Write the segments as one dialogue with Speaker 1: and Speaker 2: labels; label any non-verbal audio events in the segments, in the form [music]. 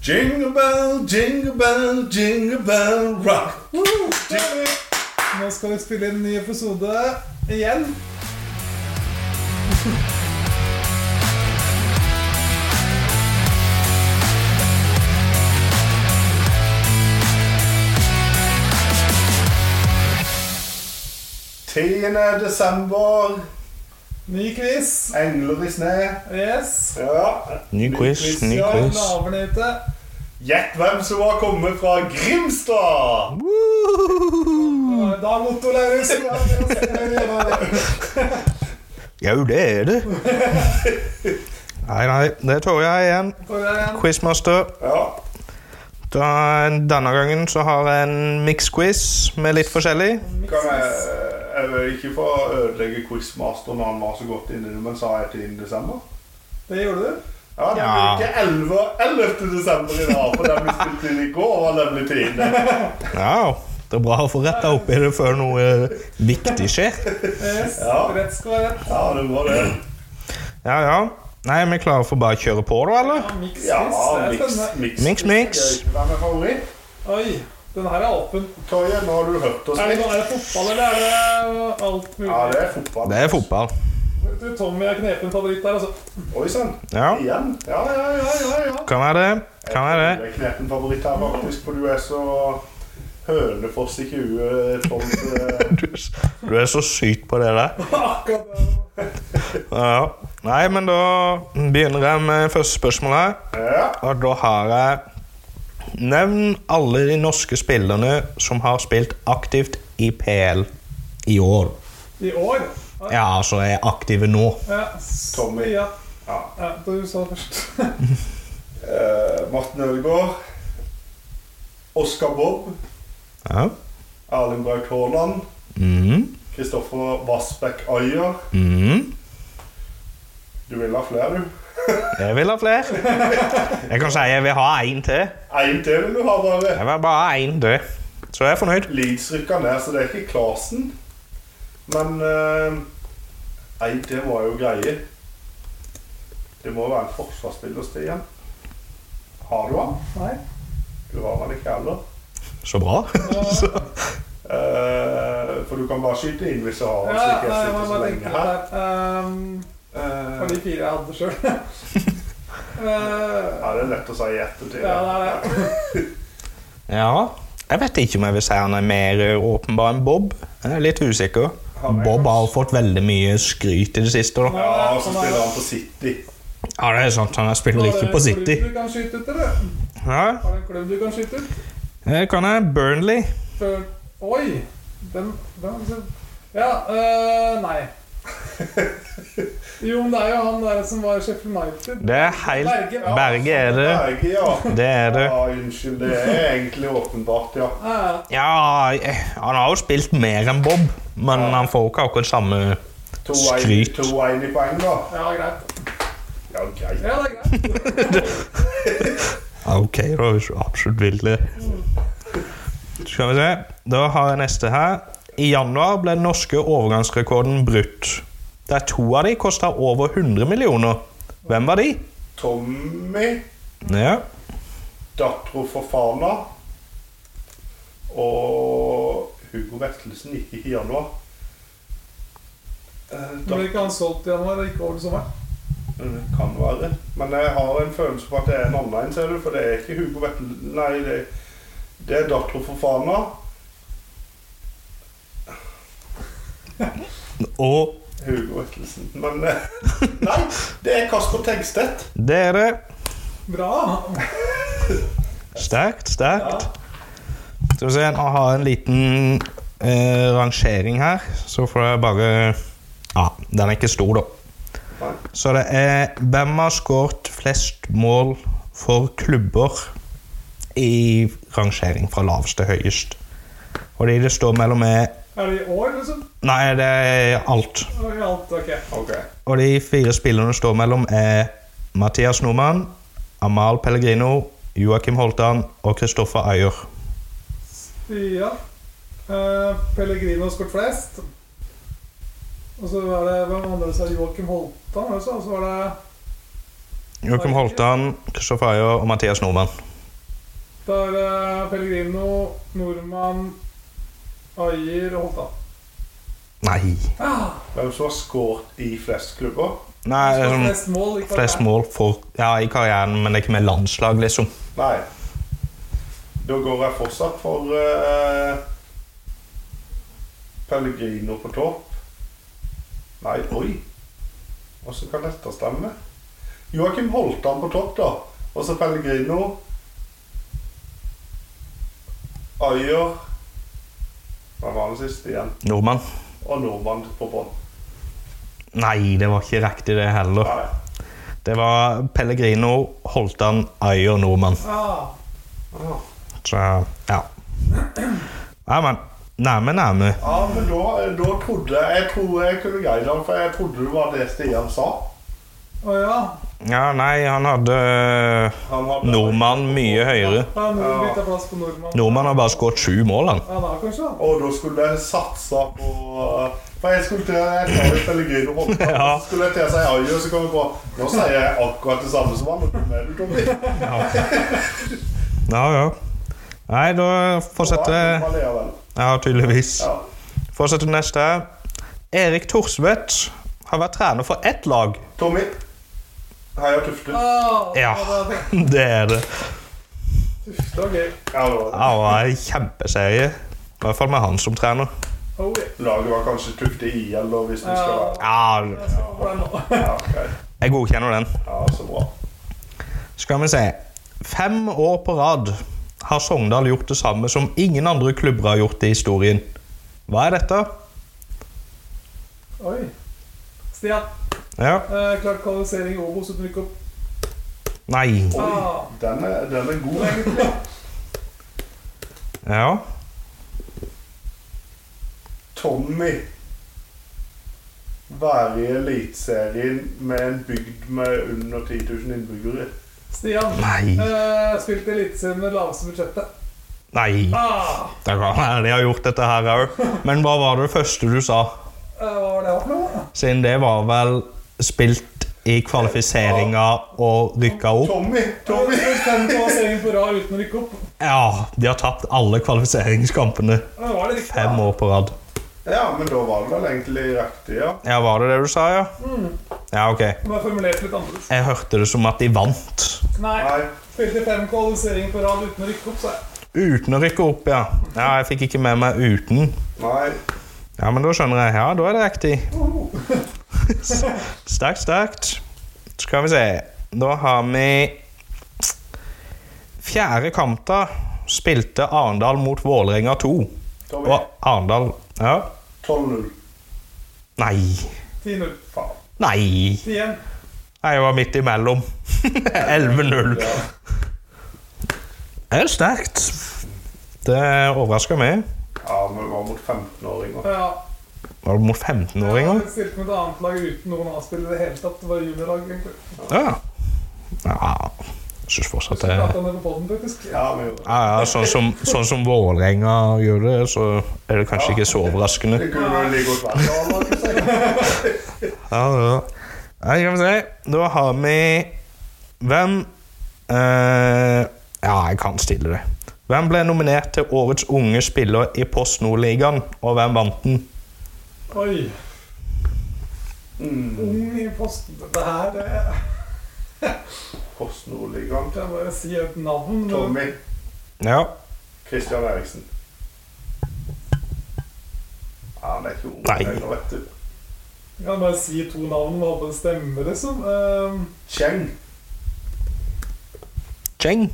Speaker 1: Jingle bell, jingle bell, jingle bell rock.
Speaker 2: Nå skal vi spille en ny episode igjen.
Speaker 1: Tiende desember.
Speaker 2: Ny quiz.
Speaker 1: Engler i sne.
Speaker 2: Yes.
Speaker 1: Ja.
Speaker 3: Ny quiz, ny
Speaker 2: Ja,
Speaker 3: quiz.
Speaker 2: naverne ute.
Speaker 1: Gjett hvem som har kommet fra Grimstad!
Speaker 2: Og Dag Otto Lauritzen. Ja, det
Speaker 3: Jau, det er det. Nei, nei, det tror jeg igjen.
Speaker 2: var igjen.
Speaker 3: Quizmaster.
Speaker 1: Ja.
Speaker 3: Da, denne gangen så har jeg en mix-quiz med litt forskjellig.
Speaker 1: Kan jeg, jeg vil ikke få ødelegge Quizmaster når han var så godt inni det, men sa jeg 10. desember?
Speaker 2: Det gjorde du.
Speaker 1: Ja, det blir
Speaker 3: Ja.
Speaker 1: ikke 11. 11. desember i dag, for den ble spilt inn i går, og den ble 10.
Speaker 3: Ja, det er bra å få retta opp i det før noe viktig skjer.
Speaker 2: Yes.
Speaker 1: Ja.
Speaker 2: Rett skal være rett.
Speaker 1: Ja, det var det.
Speaker 3: Ja, ja. Nei, vi klarer for bare å kjøre på, da, eller?
Speaker 2: Ja, mix,
Speaker 1: Ja,
Speaker 2: mix. Det er
Speaker 1: mix,
Speaker 2: spennende.
Speaker 1: mix.
Speaker 3: Mix, mix.
Speaker 1: Hvem er favoritt?
Speaker 2: Oi, den her er åpen.
Speaker 1: Torje, nå har du hørt oss
Speaker 2: Er det,
Speaker 1: litt.
Speaker 2: er det fotball, eller er det alt mulig?
Speaker 1: Ja, det er fotball.
Speaker 3: Det er fotball.
Speaker 2: Jeg tror Tommy er knepen favoritt der, altså. [laughs]
Speaker 1: Oi sann.
Speaker 3: Ja,
Speaker 1: Igjen. Ja, ja, ja. ja, ja.
Speaker 3: kan være det. Kan være det.
Speaker 1: Jeg er knepen favoritt her, faktisk, for du er så hønefoss i huet.
Speaker 3: [laughs]
Speaker 1: sånn, eh,
Speaker 3: Du, du er så syk på det der.
Speaker 2: Akkurat det.
Speaker 3: Ja. Nei, men da begynner jeg med første spørsmål her.
Speaker 1: Ja.
Speaker 3: Og da har jeg Nevn alle de norske spillerne som har spilt aktivt i PL i år.
Speaker 2: I år?
Speaker 3: Ja, altså er aktive nå.
Speaker 2: Ja.
Speaker 1: Tommy.
Speaker 2: Ja.
Speaker 1: ja.
Speaker 2: ja, da du sa det først. [laughs]
Speaker 1: Eh, Morten Ødegaard. Oskar Bob.
Speaker 3: Ja.
Speaker 1: Erling Braut Haaland.
Speaker 3: Mhm.
Speaker 1: Kristoffer Vassbekk Ayer.
Speaker 3: Mhm.
Speaker 1: Du vil ha flere, du?
Speaker 3: Jeg vil ha flere. Jeg kan si jeg vil ha én til.
Speaker 1: Én til vil du ha, bare.
Speaker 3: Jeg vil bare ha én til. Så jeg er fornøyd.
Speaker 1: Leeds rykka ned, så det er ikke Klasen. Men eh, én til var jo greie. Det må være en forsvarsspiller til igjen. Har du han?
Speaker 2: Nei.
Speaker 1: Du har han ikke heller.
Speaker 3: Så bra. Så.
Speaker 1: Eh, for du kan bare skyte inn hvis du har
Speaker 2: Ja,
Speaker 1: han.
Speaker 2: nei,
Speaker 1: så ikke jeg
Speaker 2: jeg må
Speaker 1: sitter så
Speaker 2: bare
Speaker 1: lenge
Speaker 2: tenke
Speaker 1: her.
Speaker 2: litt her. Um,
Speaker 1: Eh,
Speaker 2: for de fire jeg hadde [laughs] sjøl.
Speaker 1: ja, det er lett å si i ettertid.
Speaker 2: ja, det er det.
Speaker 3: Ja. Jeg vet ikke om jeg vil si han er mer ø, åpenbar enn Bob. Jeg er litt usikker.
Speaker 1: Han er
Speaker 3: Bob
Speaker 1: kanskje-
Speaker 3: har fått veldig mye skryt i det siste. da.
Speaker 1: Ja, og så spiller han på City.
Speaker 3: Ja, det er sant. Han spiller ikke på
Speaker 2: Har du en
Speaker 3: City.
Speaker 2: klubb du kan skyte ut, eller?
Speaker 3: Ja,
Speaker 2: Har du en klubb du kan skyte ut?
Speaker 3: Eh, Kan jeg Burnley?
Speaker 2: Før Oi! Den, den Ja, øh, nei. [laughs] Jo, men det er jo han der som var i Sheffield United.
Speaker 3: Det er helt
Speaker 2: Berge.
Speaker 3: Berge er det.
Speaker 1: Berge, ja.
Speaker 3: Det er det.
Speaker 1: ja. Unnskyld. Det er egentlig åpenbart, ja.
Speaker 2: Ja,
Speaker 3: Ja, eh, han har jo spilt mer enn Bob, men han får jo ikke akkurat samme
Speaker 1: To
Speaker 3: Skryt.
Speaker 1: 1 i poeng, da.
Speaker 2: ja, greit.
Speaker 1: Ja, greit.
Speaker 2: Ja, det er greit.
Speaker 3: Ja, Ok, da, hvis du absolutt vil det. Skal vi se. Da har jeg neste her. I januar ble den norske overgangsrekorden brutt. Der to av de kosta over 100 millioner. Hvem var de?
Speaker 1: Tommy,
Speaker 3: Ja.
Speaker 1: dattera Fofana og Hugo Vettelsen gikk ikke i januar. Eh,
Speaker 2: Nå
Speaker 1: Da,
Speaker 2: Ble ikke han solgt i januar og ikke over sommeren?
Speaker 1: det kan være. Men jeg har en følelse på at det er en annen en, ser du. For det er ikke Hugo Vettelsen Nei, det, det er dattera Fofana.
Speaker 3: Og
Speaker 1: Hugo Vettelsen. Men eh, [laughs] Nei, det er Kasper Tegstedt.
Speaker 3: det er det.
Speaker 2: Bra!
Speaker 3: Sterkt, sterkt. Skal vi se, jeg har en liten eh, rangering her, så får jeg bare Ja, den er ikke stor, da.
Speaker 1: Nei.
Speaker 3: Så det er hvem har skåret flest mål for klubber i rangering fra lavest til høyest. Og de det står mellom er
Speaker 2: Er det i år, liksom?
Speaker 3: Nei, det er alt.
Speaker 2: I alt, ok.
Speaker 1: Ok.
Speaker 3: Og de fire spillerne det står mellom er Mathias Nordmann, Amal Pellegrino, Joakim Holtan og Kristoffer Ayer.
Speaker 2: Ja. Eh, Pellegrino har skåret flest. Og så var det hvem andre sa Joakim Holtan, var det så? Og så var det
Speaker 3: Joakim Holtan, Kristoffer Ayer og Mathias Nordmann.
Speaker 2: Da er det Pellegrino, Nordmann, Ayer og Holtan.
Speaker 3: Nei.
Speaker 2: Ah,
Speaker 1: Hvem som har skåret i flest klubber?
Speaker 3: Nei, det er sånn
Speaker 2: flest mål, ikke
Speaker 3: flest mål for Ja, i karrieren, men det er ikke med landslag, liksom.
Speaker 1: Nei. Da går jeg fortsatt for eh, Pellegrino på topp. Nei, oi. Og så kan dette stemme. Joakim Holtan på topp, da. Og så Pellegrino. Ayer. Hvem var den siste igjen?
Speaker 3: Nordmann.
Speaker 1: Og nordmann på bånn.
Speaker 3: Nei, det var ikke riktig, det heller.
Speaker 1: Nei.
Speaker 3: Det var Pellegrino, Holtan, Ayer, Nordmann.
Speaker 2: Ah,
Speaker 1: Ah.
Speaker 3: Så ja. Nei, men nærme, nærme.
Speaker 1: Ja, men da, eh, da trodde jeg Jeg tror jeg kunne greie det, for jeg trodde det var det Stian sa.
Speaker 2: å ja.
Speaker 3: Ja, nei, han hadde eh,
Speaker 1: Han hadde-
Speaker 3: nordmann mye høyere.
Speaker 2: Da har Nord
Speaker 1: Ja.
Speaker 2: bytta plass på Nordmann.
Speaker 3: Nordmann har bare skåret sju mål, han.
Speaker 2: Ja, han har kanskje da.
Speaker 1: Og da skulle jeg satsa på For jeg skulle til jeg tar litt Pellegrino Holtan,
Speaker 3: Ja.
Speaker 1: så skulle jeg til å si Ayo, så kom jeg på Nå sier jeg akkurat det samme som han. og hvem er du, Tommy?
Speaker 3: Ja, ja. Nei, da fortsetter
Speaker 1: Ja, likevel.
Speaker 3: Ja, tydeligvis.
Speaker 1: Ja.
Speaker 3: Fortsetter neste. Erik Thorsvedt har vært trener for ett lag.
Speaker 1: Tommy. Heia Tufte.
Speaker 2: Ah,
Speaker 3: Ja. [laughs]
Speaker 2: da hadde jeg tenkt,
Speaker 3: Det er det.
Speaker 2: Uff, det var gøy.
Speaker 1: Ja, det var det.
Speaker 3: Ja, det var en kjempeserie. I hvert fall med han som trener.
Speaker 2: Oh, yeah.
Speaker 1: Laget var kanskje Tufte I, eller hvis vi skal være
Speaker 3: Ja,
Speaker 2: Jeg skal på den nå. [laughs]
Speaker 1: Ja, ok.
Speaker 3: jeg godkjenner den.
Speaker 1: ja så bra.
Speaker 3: Skal vi se. Fem år på rad har Sogndal gjort det samme som ingen andre klubber har gjort i historien. Hva er dette?
Speaker 2: Oi. Stian,
Speaker 3: Ja.
Speaker 2: eh, klart kvalifisering i Obos uten rykk opp.
Speaker 3: Nei.
Speaker 2: Ah,
Speaker 1: Den er, den er god.
Speaker 2: egentlig.
Speaker 3: Ja.
Speaker 1: Tommy være i Eliteserien med en bygd med under 10 000 innbyggere.
Speaker 2: Stian,
Speaker 3: Nei.
Speaker 2: eh, spilte eliteserien med det laveste budsjettet.
Speaker 3: Nei.
Speaker 2: Ah,
Speaker 3: Det kan være de har gjort dette her òg. Men hva var det første du sa?
Speaker 2: eh, hva var det for noe?
Speaker 3: Siden det var vel spilt i kvalifiseringa og rykka opp.
Speaker 1: Tommy! Tommy!
Speaker 2: Eh, Fem kvalifiseringer på rad uten å rykke opp.
Speaker 3: Ja, de har tapt alle kvalifiseringskampene
Speaker 2: Eh, var det riktig?
Speaker 3: fem år på rad.
Speaker 1: Ja, men da var det vel egentlig riktig, ja.
Speaker 3: Ja, var det det du sa, ja? Ja, ok.
Speaker 2: Det var formulert litt annerledes.
Speaker 3: Jeg hørte det som at de vant.
Speaker 2: Nei.
Speaker 1: Nei,
Speaker 2: Spilte fem kvalifiseringer på rad uten å rykke opp, sa jeg.
Speaker 3: Uten å rykke opp, ja. Ja, Jeg fikk ikke med meg uten.
Speaker 1: nei.
Speaker 3: Ja, men da skjønner jeg. Ja, da er det riktig. Sterkt, sterkt. Skal vi se. Da har vi Fjerde kamta spilte Arendal mot Vålerenga 2. Og
Speaker 1: Tommy.
Speaker 3: Arendal Ja.
Speaker 1: 12-0.
Speaker 3: Nei.
Speaker 2: 10-0.
Speaker 1: Faen.
Speaker 3: Nei.
Speaker 2: 10-1.
Speaker 3: Nei, Jeg var midt imellom. [laughs] 11-0.
Speaker 1: Ja.
Speaker 3: Det er sterkt. Det overrasker meg.
Speaker 1: ja, men det var mot 15-åringer.
Speaker 2: Eh, Ja.
Speaker 3: Var det mot
Speaker 2: Jeg
Speaker 3: 15-åringer?
Speaker 2: har spilt med et annet lag uten noen A-spillere i det hele tatt. Det var juniorlag, egentlig.
Speaker 3: Ja. ja. Jeg syns fortsatt det
Speaker 2: Prata om det på podden, faktisk.
Speaker 1: Ja, vi gjorde det.
Speaker 3: Ja, ja, sånn som, sånn som Vålerenga gjør det, så er det kanskje
Speaker 1: Ja.
Speaker 3: ikke så overraskende.
Speaker 1: Det liksom. kunne vel like godt vært ja, hva skal jeg si?
Speaker 3: Ja, ja. Nei, skal vi se. Da har vi Hvem eh, Ja, jeg kan stille det. Hvem ble nominert til Årets unge spiller i Post Nord-ligaen, og hvem vant den?
Speaker 2: Oi.
Speaker 1: Mm.
Speaker 2: Ung i posten. Dette her eh,
Speaker 1: Post Nordligaen.
Speaker 2: Jeg må bare si et navn.
Speaker 1: Tommy.
Speaker 3: Ja.
Speaker 1: Christian Eriksen. Ja, han er ikke ung
Speaker 3: Nei.
Speaker 1: lenger, vet du.
Speaker 2: Jeg kan bare si to navn og håpe det stemmer, liksom. Ehm,
Speaker 1: Cheng.
Speaker 3: Cheng.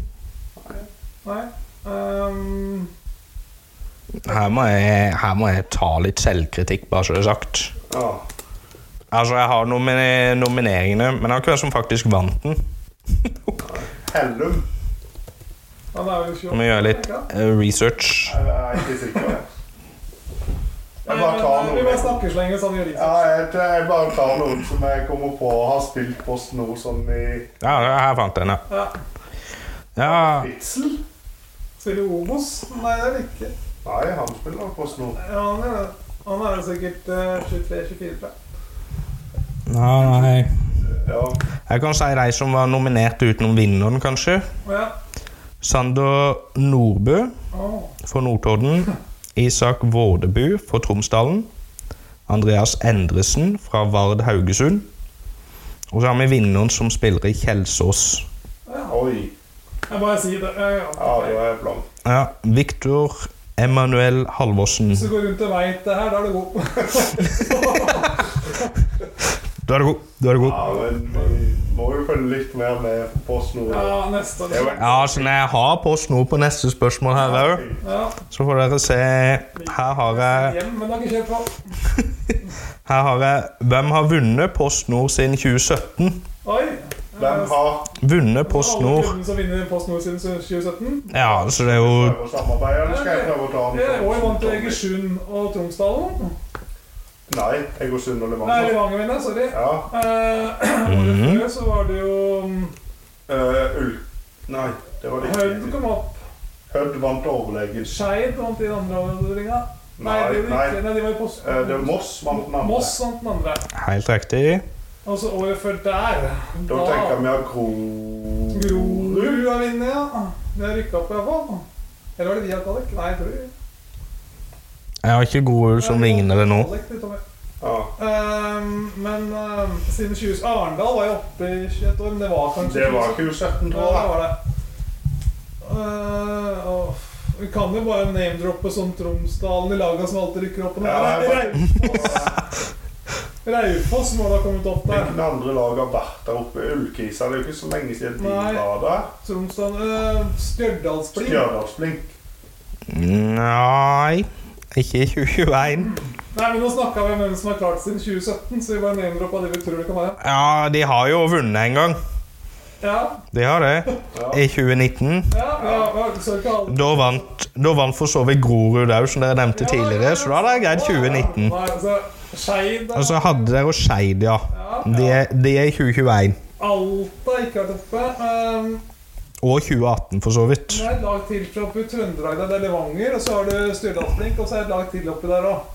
Speaker 2: nei. Ehm,
Speaker 3: Her må, jeg, her må jeg ta litt selvkritikk, bare så det er sagt.
Speaker 1: Ja.
Speaker 3: Altså, jeg har nomine nomineringene, men det var ikke hvem som faktisk vant den.
Speaker 1: Hellum.
Speaker 2: han er vel 28?
Speaker 3: Må gjøre litt
Speaker 2: ikke sant?
Speaker 3: eh, research.
Speaker 1: Jeg er ikke sikker. jeg. Jeg
Speaker 2: Nei,
Speaker 1: bare
Speaker 2: men,
Speaker 1: tar
Speaker 2: eh, Vi bare
Speaker 1: noen.
Speaker 2: snakker så lenge, så han gjør
Speaker 1: Ja,
Speaker 2: research.
Speaker 1: jeg, jeg bare tar noen som jeg kommer på har spilt Post Nord sånn i
Speaker 3: Ja, her fant jeg den, ja.
Speaker 2: Ja.
Speaker 3: ja.
Speaker 1: Fitzel.
Speaker 2: Spiller Obos? Nei, det er det ikke.
Speaker 1: Nei, han spiller Post Nord.
Speaker 2: Ja, han gjør det. Han er jo sikkert eh, 23-24, tror jeg.
Speaker 3: Ja, nei.
Speaker 1: Ja.
Speaker 3: Jeg kan si de som var nominert utenom vinneren, kanskje.
Speaker 2: Ja.
Speaker 3: Sander Nordbø
Speaker 2: Åh,
Speaker 3: for Notodden. Isak Vårdebu for Tromsdalen. Andreas Endresen fra Vard Haugesund. Og så har vi vinneren som spiller i Kjelsås.
Speaker 1: Oi.
Speaker 2: Jeg bare sier det. Jeg,
Speaker 1: Ja, det var blankt.
Speaker 3: Ja, Viktor Emanuel Halvorsen.
Speaker 2: Hvis du går rundt og veit det her, da er du god.
Speaker 3: Da er du god. Da er du god.
Speaker 1: Ja, men vi må jo følge litt mer med på snoret.
Speaker 2: Ja, neste.
Speaker 1: Det er jo-
Speaker 3: Ja, altså, jeg har post noe på neste spørsmål her òg,
Speaker 2: Ja.
Speaker 3: så får dere se. Her har jeg
Speaker 2: Hjem, men det har ikke kjørt på.
Speaker 3: Her har jeg Hvem har vunnet PostNord siden 2017?
Speaker 2: Oi.
Speaker 1: Hvem har
Speaker 3: Vunnet PostNord
Speaker 2: Alle kundene som vinner PostNord siden 2017.
Speaker 3: Ja, så det er jo
Speaker 1: prøvd å samarbeide, eller skal jeg prøve å ta
Speaker 2: Det er
Speaker 1: den?
Speaker 2: også vant til Egersund og Tromsdalen.
Speaker 1: Nei, jeg går sunn og
Speaker 2: Nei,
Speaker 1: levanger.
Speaker 2: Levanger vinner, sorry.
Speaker 1: Ja.
Speaker 2: Eh, [clears throat] året
Speaker 3: Mhm.
Speaker 2: før så var det jo mm,
Speaker 1: Uh, Ull... Nei, det var det
Speaker 2: Høyden
Speaker 1: ikke.
Speaker 2: kom opp.
Speaker 1: Hødd vant overlegen.
Speaker 2: Skeid vant i den andre avdelinga. Nei,
Speaker 1: Nei,
Speaker 2: det var
Speaker 1: nei.
Speaker 2: ikke. Nei, de var i Post.
Speaker 1: Eh, det var Moss vant den andre.
Speaker 2: Moss vant den andre. Altså,
Speaker 3: helt riktig.
Speaker 2: Og så året før der
Speaker 1: Da tenker jeg vi har Gro...
Speaker 2: Grorud har vunnet, ja. Det har rykka opp, iallfall. Eller var det Via Kalek? Nei, jeg tror det.
Speaker 3: Jeg har ikke Grorud som ligner det sånn nå.
Speaker 2: Kalek, det, Tommy.
Speaker 1: Ja.
Speaker 2: Ehm, men ehm, siden 20... Arendal var jo oppe i 21 år, men det var kanskje
Speaker 1: Det var 2017,
Speaker 2: Ja,
Speaker 1: tror
Speaker 2: det
Speaker 1: jeg.
Speaker 2: var det. Eh, og vi kan jo bare name-droppe sånn Tromsdalen i laga som alltid rykker opp. og ned.
Speaker 1: Ja, det er
Speaker 2: Raufoss må da ha kommet opp der.
Speaker 1: Hvilken andre lag har vært der oppe? Ullkisa? Det er jo ikke så lenge siden de
Speaker 2: Nei.
Speaker 1: var der.
Speaker 2: Tromsdalen uh, Stjørdalsblink.
Speaker 1: Stjørdalsblink.
Speaker 3: Nei, ikke i 2021.
Speaker 2: Nei, men nå snakka vi om hvem som har klart siden 2017, så vi bare name-droppa det vi tror det kan være.
Speaker 3: Ja, de har jo vunnet en gang.
Speaker 2: Ja,
Speaker 3: De har det.
Speaker 1: Ja.
Speaker 3: I 2019.
Speaker 2: ja, ja, ja så ikke alle.
Speaker 3: Da vant, da vant for så vidt Grorud òg, som dere nevnte tidligere. Så da hadde jeg greid 2019.
Speaker 2: Nei, altså, Skeid
Speaker 3: Og så hadde dere jo Skeid, ja. De er, de er i 2021.
Speaker 2: Alta ikke vært oppe. Ehm,
Speaker 3: Og 2018, for så vidt.
Speaker 2: Det er et lag til fra oppe i Trøndelag, det er Levanger, og så har du Stjørdalsblink, og så er det et lag til oppi der òg.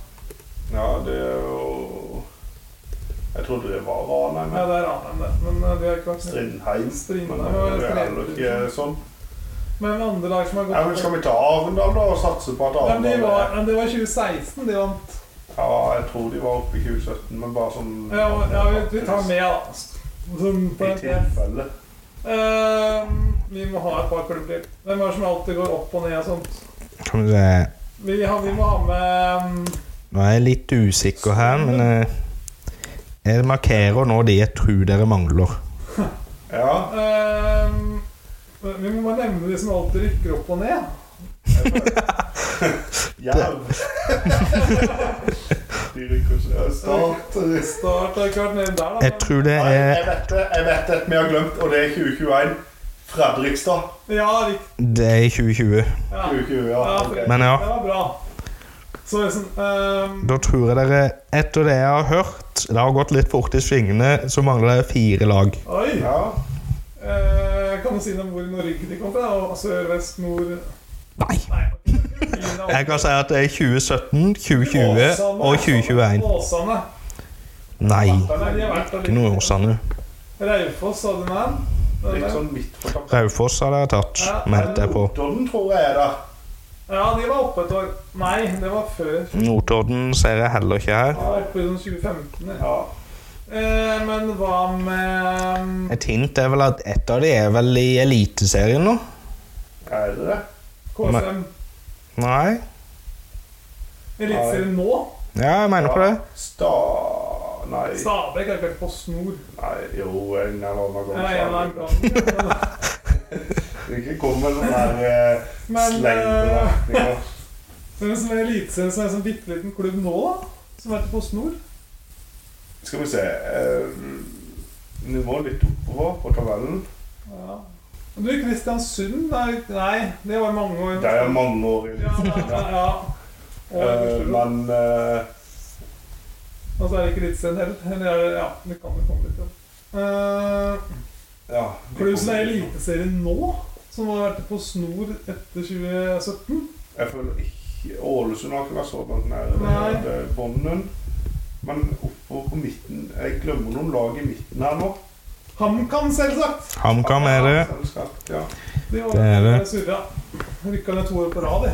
Speaker 1: Ja, det er jo Jeg trodde det var Ranheim.
Speaker 2: Ja, det er Ranheim, det. Men eh, det er ikke vært
Speaker 1: Strindheim.
Speaker 2: Strindheim,
Speaker 1: Men eh,
Speaker 2: ja,
Speaker 1: det er heller ikke
Speaker 2: Strindheim.
Speaker 1: sånn.
Speaker 2: Men andre lag som har
Speaker 1: Ja, men
Speaker 2: gått
Speaker 1: Skal vi ta Arendal, da, og satse på at
Speaker 2: Ja, men de
Speaker 1: Arendal
Speaker 2: var, men Det var 2016 de vant.
Speaker 1: Ja, jeg tror de var oppe i 2017, men bare sånn
Speaker 2: Ja, men- ja vi, vi tar med, da. Som på
Speaker 1: I
Speaker 2: en
Speaker 1: tilfelle.
Speaker 2: Ehm, vi må ha et par klubber til. Hvem er det som alltid går opp og ned og sånt?
Speaker 3: Skal vi se
Speaker 2: Vi, har, vi må ha med um,
Speaker 3: Nå er jeg litt usikker her, men eh, jeg markerer nå de jeg tror dere mangler.
Speaker 1: Ja.
Speaker 2: um, Vi må bare nevne de som alltid rykker opp og ned.
Speaker 1: Jerv. [laughs] de rykker seg. Start.
Speaker 2: Start har ikke vært nede der, da.
Speaker 3: Jeg tror det
Speaker 1: Nei,
Speaker 2: Eh,
Speaker 1: jeg
Speaker 3: er
Speaker 1: vet det. Jeg vet et vi har glemt, og det er 2021. Fredrikstad.
Speaker 2: Ja, riktig.
Speaker 3: Det er i 2020.
Speaker 2: Ja.
Speaker 1: 2020, ja.
Speaker 2: Ja,
Speaker 1: ok.
Speaker 3: Men ja,
Speaker 2: Det var bra. Så liksom ehm,
Speaker 3: da tror jeg dere Etter det jeg har hørt Det har gått litt fort i svingene, så mangler det fire lag.
Speaker 2: Oi!
Speaker 1: Ja.
Speaker 2: Eh, kan du si noe om hvor i Norge de kom fra? Og Sør, vest, nord
Speaker 3: Nei.
Speaker 2: Nei.
Speaker 3: Jeg kan si at det er 2017, 2020 og 2021.
Speaker 2: Åsane.
Speaker 3: Nei.
Speaker 2: Nei, de har vært der
Speaker 3: Ikke noe i Åsane.
Speaker 2: litt. Raufoss hadde de en. Den
Speaker 1: Litt
Speaker 2: der.
Speaker 1: sånn midt på kampen.
Speaker 3: Raufoss hadde jeg tatt, meldte jeg på.
Speaker 1: Notodden tror jeg er der.
Speaker 2: Ja, de var oppe et år. Nei, det var før. De
Speaker 3: Notodden ser jeg heller ikke her.
Speaker 2: var oppe i sånn 2015. Ja.
Speaker 1: Ja.
Speaker 2: Eh, men hva med
Speaker 3: Et hint er vel at ett av de er vel i Eliteserien nå?
Speaker 1: Er det det?
Speaker 2: KFM?
Speaker 3: Nei?
Speaker 2: Eliteserien nå?
Speaker 3: Ja, jeg mener på det.
Speaker 1: Sta... Nei.
Speaker 2: Stabæk er ikke helt på snor.
Speaker 1: Nei, jo, en eller annen gang.
Speaker 2: Ja, en eller annen gang.
Speaker 1: Det Ikke kom med
Speaker 2: [laughs]
Speaker 1: sånne der eh,
Speaker 2: Men, eh,
Speaker 1: slengberetninger.
Speaker 2: Hvem som er eliteserien som er en sånn bitte liten klubb nå, da? Som heter PostNord?
Speaker 1: Skal vi se eh, Nivå litt oppover på tabellen.
Speaker 2: Ja. Du, Kristiansund er jo- Nei, det var mange år.
Speaker 1: Det er mange år
Speaker 2: Ja,
Speaker 1: inn.
Speaker 2: ja, ja, ja. Og
Speaker 1: Eh,
Speaker 2: Østersund.
Speaker 1: Men eh,
Speaker 2: Og så er det ikke eliteserien heller. Eller er det Ja, det kan det komme litt til. Uh,
Speaker 1: ja.
Speaker 2: klubb som er i eliteserien nå, som har vært på snor etter 2017?
Speaker 1: Jeg føler ikke Ålesund har ikke vært så langt
Speaker 2: Nei.
Speaker 1: nede bånden. Men oppover på midten Jeg glemmer noen lag i midten her nå.
Speaker 2: HamKam, selvsagt.
Speaker 3: HamKam er det.
Speaker 1: Ja, det skal, ja.
Speaker 2: De var
Speaker 3: Det er det.
Speaker 2: surra. Rykka ned to år på rad, det.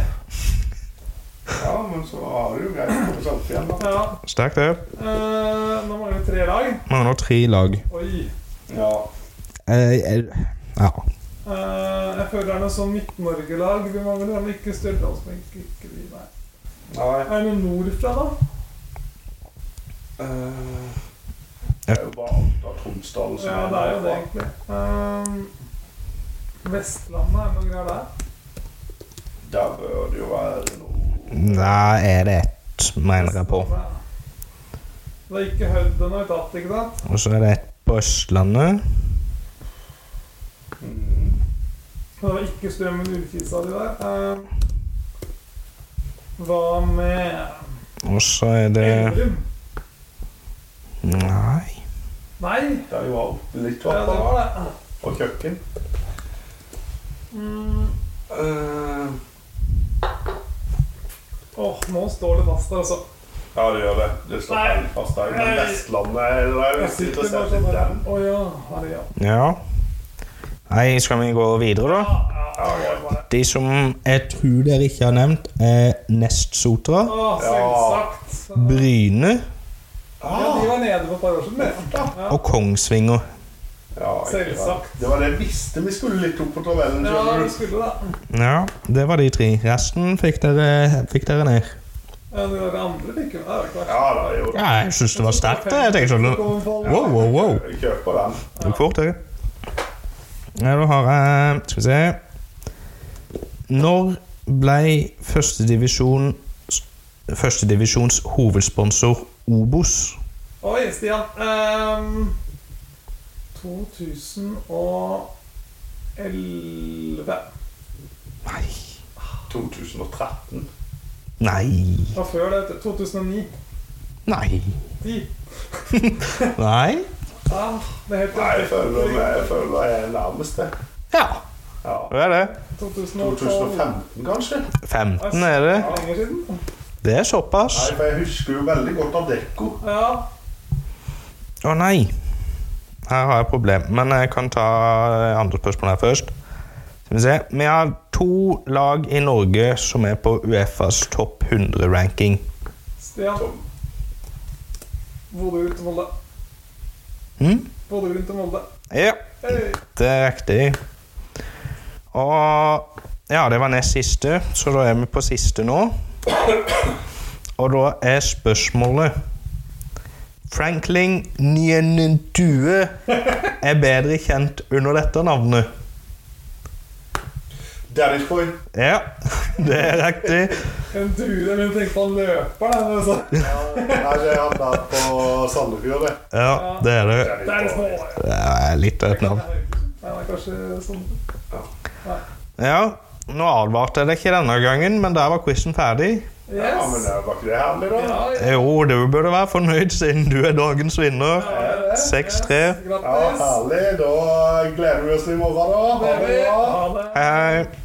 Speaker 1: ja, men så har du jo greit å komme seg opp igjen, da.
Speaker 2: Ja.
Speaker 3: Sterkt, det.
Speaker 2: Eh, nå mangler vi tre lag.
Speaker 3: Mangler tre lag.
Speaker 2: Oi.
Speaker 1: Ja.
Speaker 3: Eh, eh, ja.
Speaker 2: Eh, jeg føler det er noe sånn Midt-Norge-lag. Vi mangler han ikke Stjørdalsbenk. Ikke vi, nei.
Speaker 1: Nei.
Speaker 2: Er det noe nordfra, da?
Speaker 1: eh, det er jo bare Alta og Tromsdal som
Speaker 2: Ja, det er jo det, egentlig. Eh, Vestlandet, er det noe greier der?
Speaker 1: Der bør det jo være noe
Speaker 3: Da er det ett, mener jeg på.
Speaker 2: Det er ikke Hødd den har vi tatt, ikke sant?
Speaker 3: Og så er det ett på Østlandet.
Speaker 1: mm.
Speaker 2: Det var ikke Strømmen Ullkisa de der. Eh, hva med
Speaker 3: Og så er det
Speaker 2: Elverum?
Speaker 3: Nei.
Speaker 2: Nei,
Speaker 1: Der var oppe litt
Speaker 2: ja, det
Speaker 1: vakker.
Speaker 2: var det.
Speaker 1: Og kjøkken.
Speaker 2: Mm.
Speaker 1: Eh,
Speaker 2: Åh, nå står det fast, altså.
Speaker 1: ja, det gjør det. Det står
Speaker 2: Nei.
Speaker 1: helt fast der. Men
Speaker 2: Nei.
Speaker 1: Vestlandet er det jo litt
Speaker 2: bare
Speaker 1: interessert i
Speaker 2: sånn der.
Speaker 1: den.
Speaker 2: Å ja, herre ja.
Speaker 3: Ja. Nei, skal vi gå videre, da?
Speaker 2: Ja, ja, ja, bare.
Speaker 3: De som jeg tror dere ikke har nevnt, er Nestsotra,
Speaker 2: Å, selvsagt.
Speaker 3: Bryne
Speaker 2: Ja, de var nede for et par år siden. det. Ja.
Speaker 3: og Kongsvinger.
Speaker 1: Ja, ikke
Speaker 2: Selvsagt.
Speaker 1: sant. Det var det jeg visste vi skulle litt opp på travellen.
Speaker 2: Ja,
Speaker 1: skjønner
Speaker 2: du
Speaker 1: du.
Speaker 2: skulle det.
Speaker 3: Ja, det var de tre. Resten fikk dere, fikk dere ned.
Speaker 2: Ja, det var det andre fikk jo det. er jo ikke verst.
Speaker 1: Ja, da, jo.
Speaker 3: Ja, jeg syns det var sterkt. det. Jeg tenkte
Speaker 2: Det
Speaker 3: sånn
Speaker 2: kom en fall.
Speaker 3: Wow, wow, wow.
Speaker 1: Jeg kjøper den.
Speaker 3: Det gikk fort, dere. Ja, da har jeg Skal vi se Når ble førstedivisjon Førstedivisjons hovedsponsor Obos?
Speaker 2: Oi, Stian. Ehm, 2011.
Speaker 3: Nei.
Speaker 1: 2013.
Speaker 3: Nei.
Speaker 2: Det var før det. vet du. 2009.
Speaker 3: Nei.
Speaker 2: 10.
Speaker 3: Nei.
Speaker 2: Ah, det heter
Speaker 1: Nei, jeg føler jeg føler jeg er nærmest det.
Speaker 3: Ja,
Speaker 1: Ja.
Speaker 3: det er det.
Speaker 2: 2005.
Speaker 1: 2015, kanskje?
Speaker 3: 15 er det.
Speaker 2: Ja, lenger siden.
Speaker 3: Det er såpass.
Speaker 1: Nei, for jeg husker jo veldig godt av Dekko.
Speaker 2: Ja.
Speaker 3: Å nei. Her har jeg et problem, men jeg kan ta eh, andre spørsmål her først. Skal vi se. Vi har to lag i Norge som er på Uefas topp 100-ranking.
Speaker 2: Stian.
Speaker 1: Tom.
Speaker 2: Bodø Glimt og Molde.
Speaker 3: Hm?
Speaker 2: Bodø Glimt og Molde.
Speaker 3: Ja,
Speaker 2: Hei.
Speaker 3: det er riktig. Og Ja, det var nest siste, så da er vi på siste nå. Og da er spørsmålet Franklin Nienentue er bedre kjent under dette navnet.
Speaker 1: Daddy's Boy.
Speaker 3: Ja, [laughs] det er riktig.
Speaker 2: En dure, men tenk på han altså. løper, da. men så-
Speaker 1: Ja, nei, det er han der på Sandefjord, det.
Speaker 3: Ja, det er det.
Speaker 2: Det er liksom-
Speaker 1: Daddy's Boy.
Speaker 2: små.
Speaker 3: Det er litt av et navn.
Speaker 2: Ja, det er kanskje sånn.
Speaker 3: Ja, nå advarte jeg deg ikke denne gangen, men der var quizen ferdig.
Speaker 1: Ja, men
Speaker 2: Yes.
Speaker 1: det var ikke det herlig, da?
Speaker 2: Ja, ja.
Speaker 3: Jo, du burde være fornøyd siden du er dagens vinner. 6-3.
Speaker 1: Ja,
Speaker 2: Grattis.
Speaker 1: herlig. Da gleder vi oss til i morgen, da.
Speaker 2: Ha det.
Speaker 1: Ha det bra.
Speaker 2: Ha det.
Speaker 3: Hei, hei.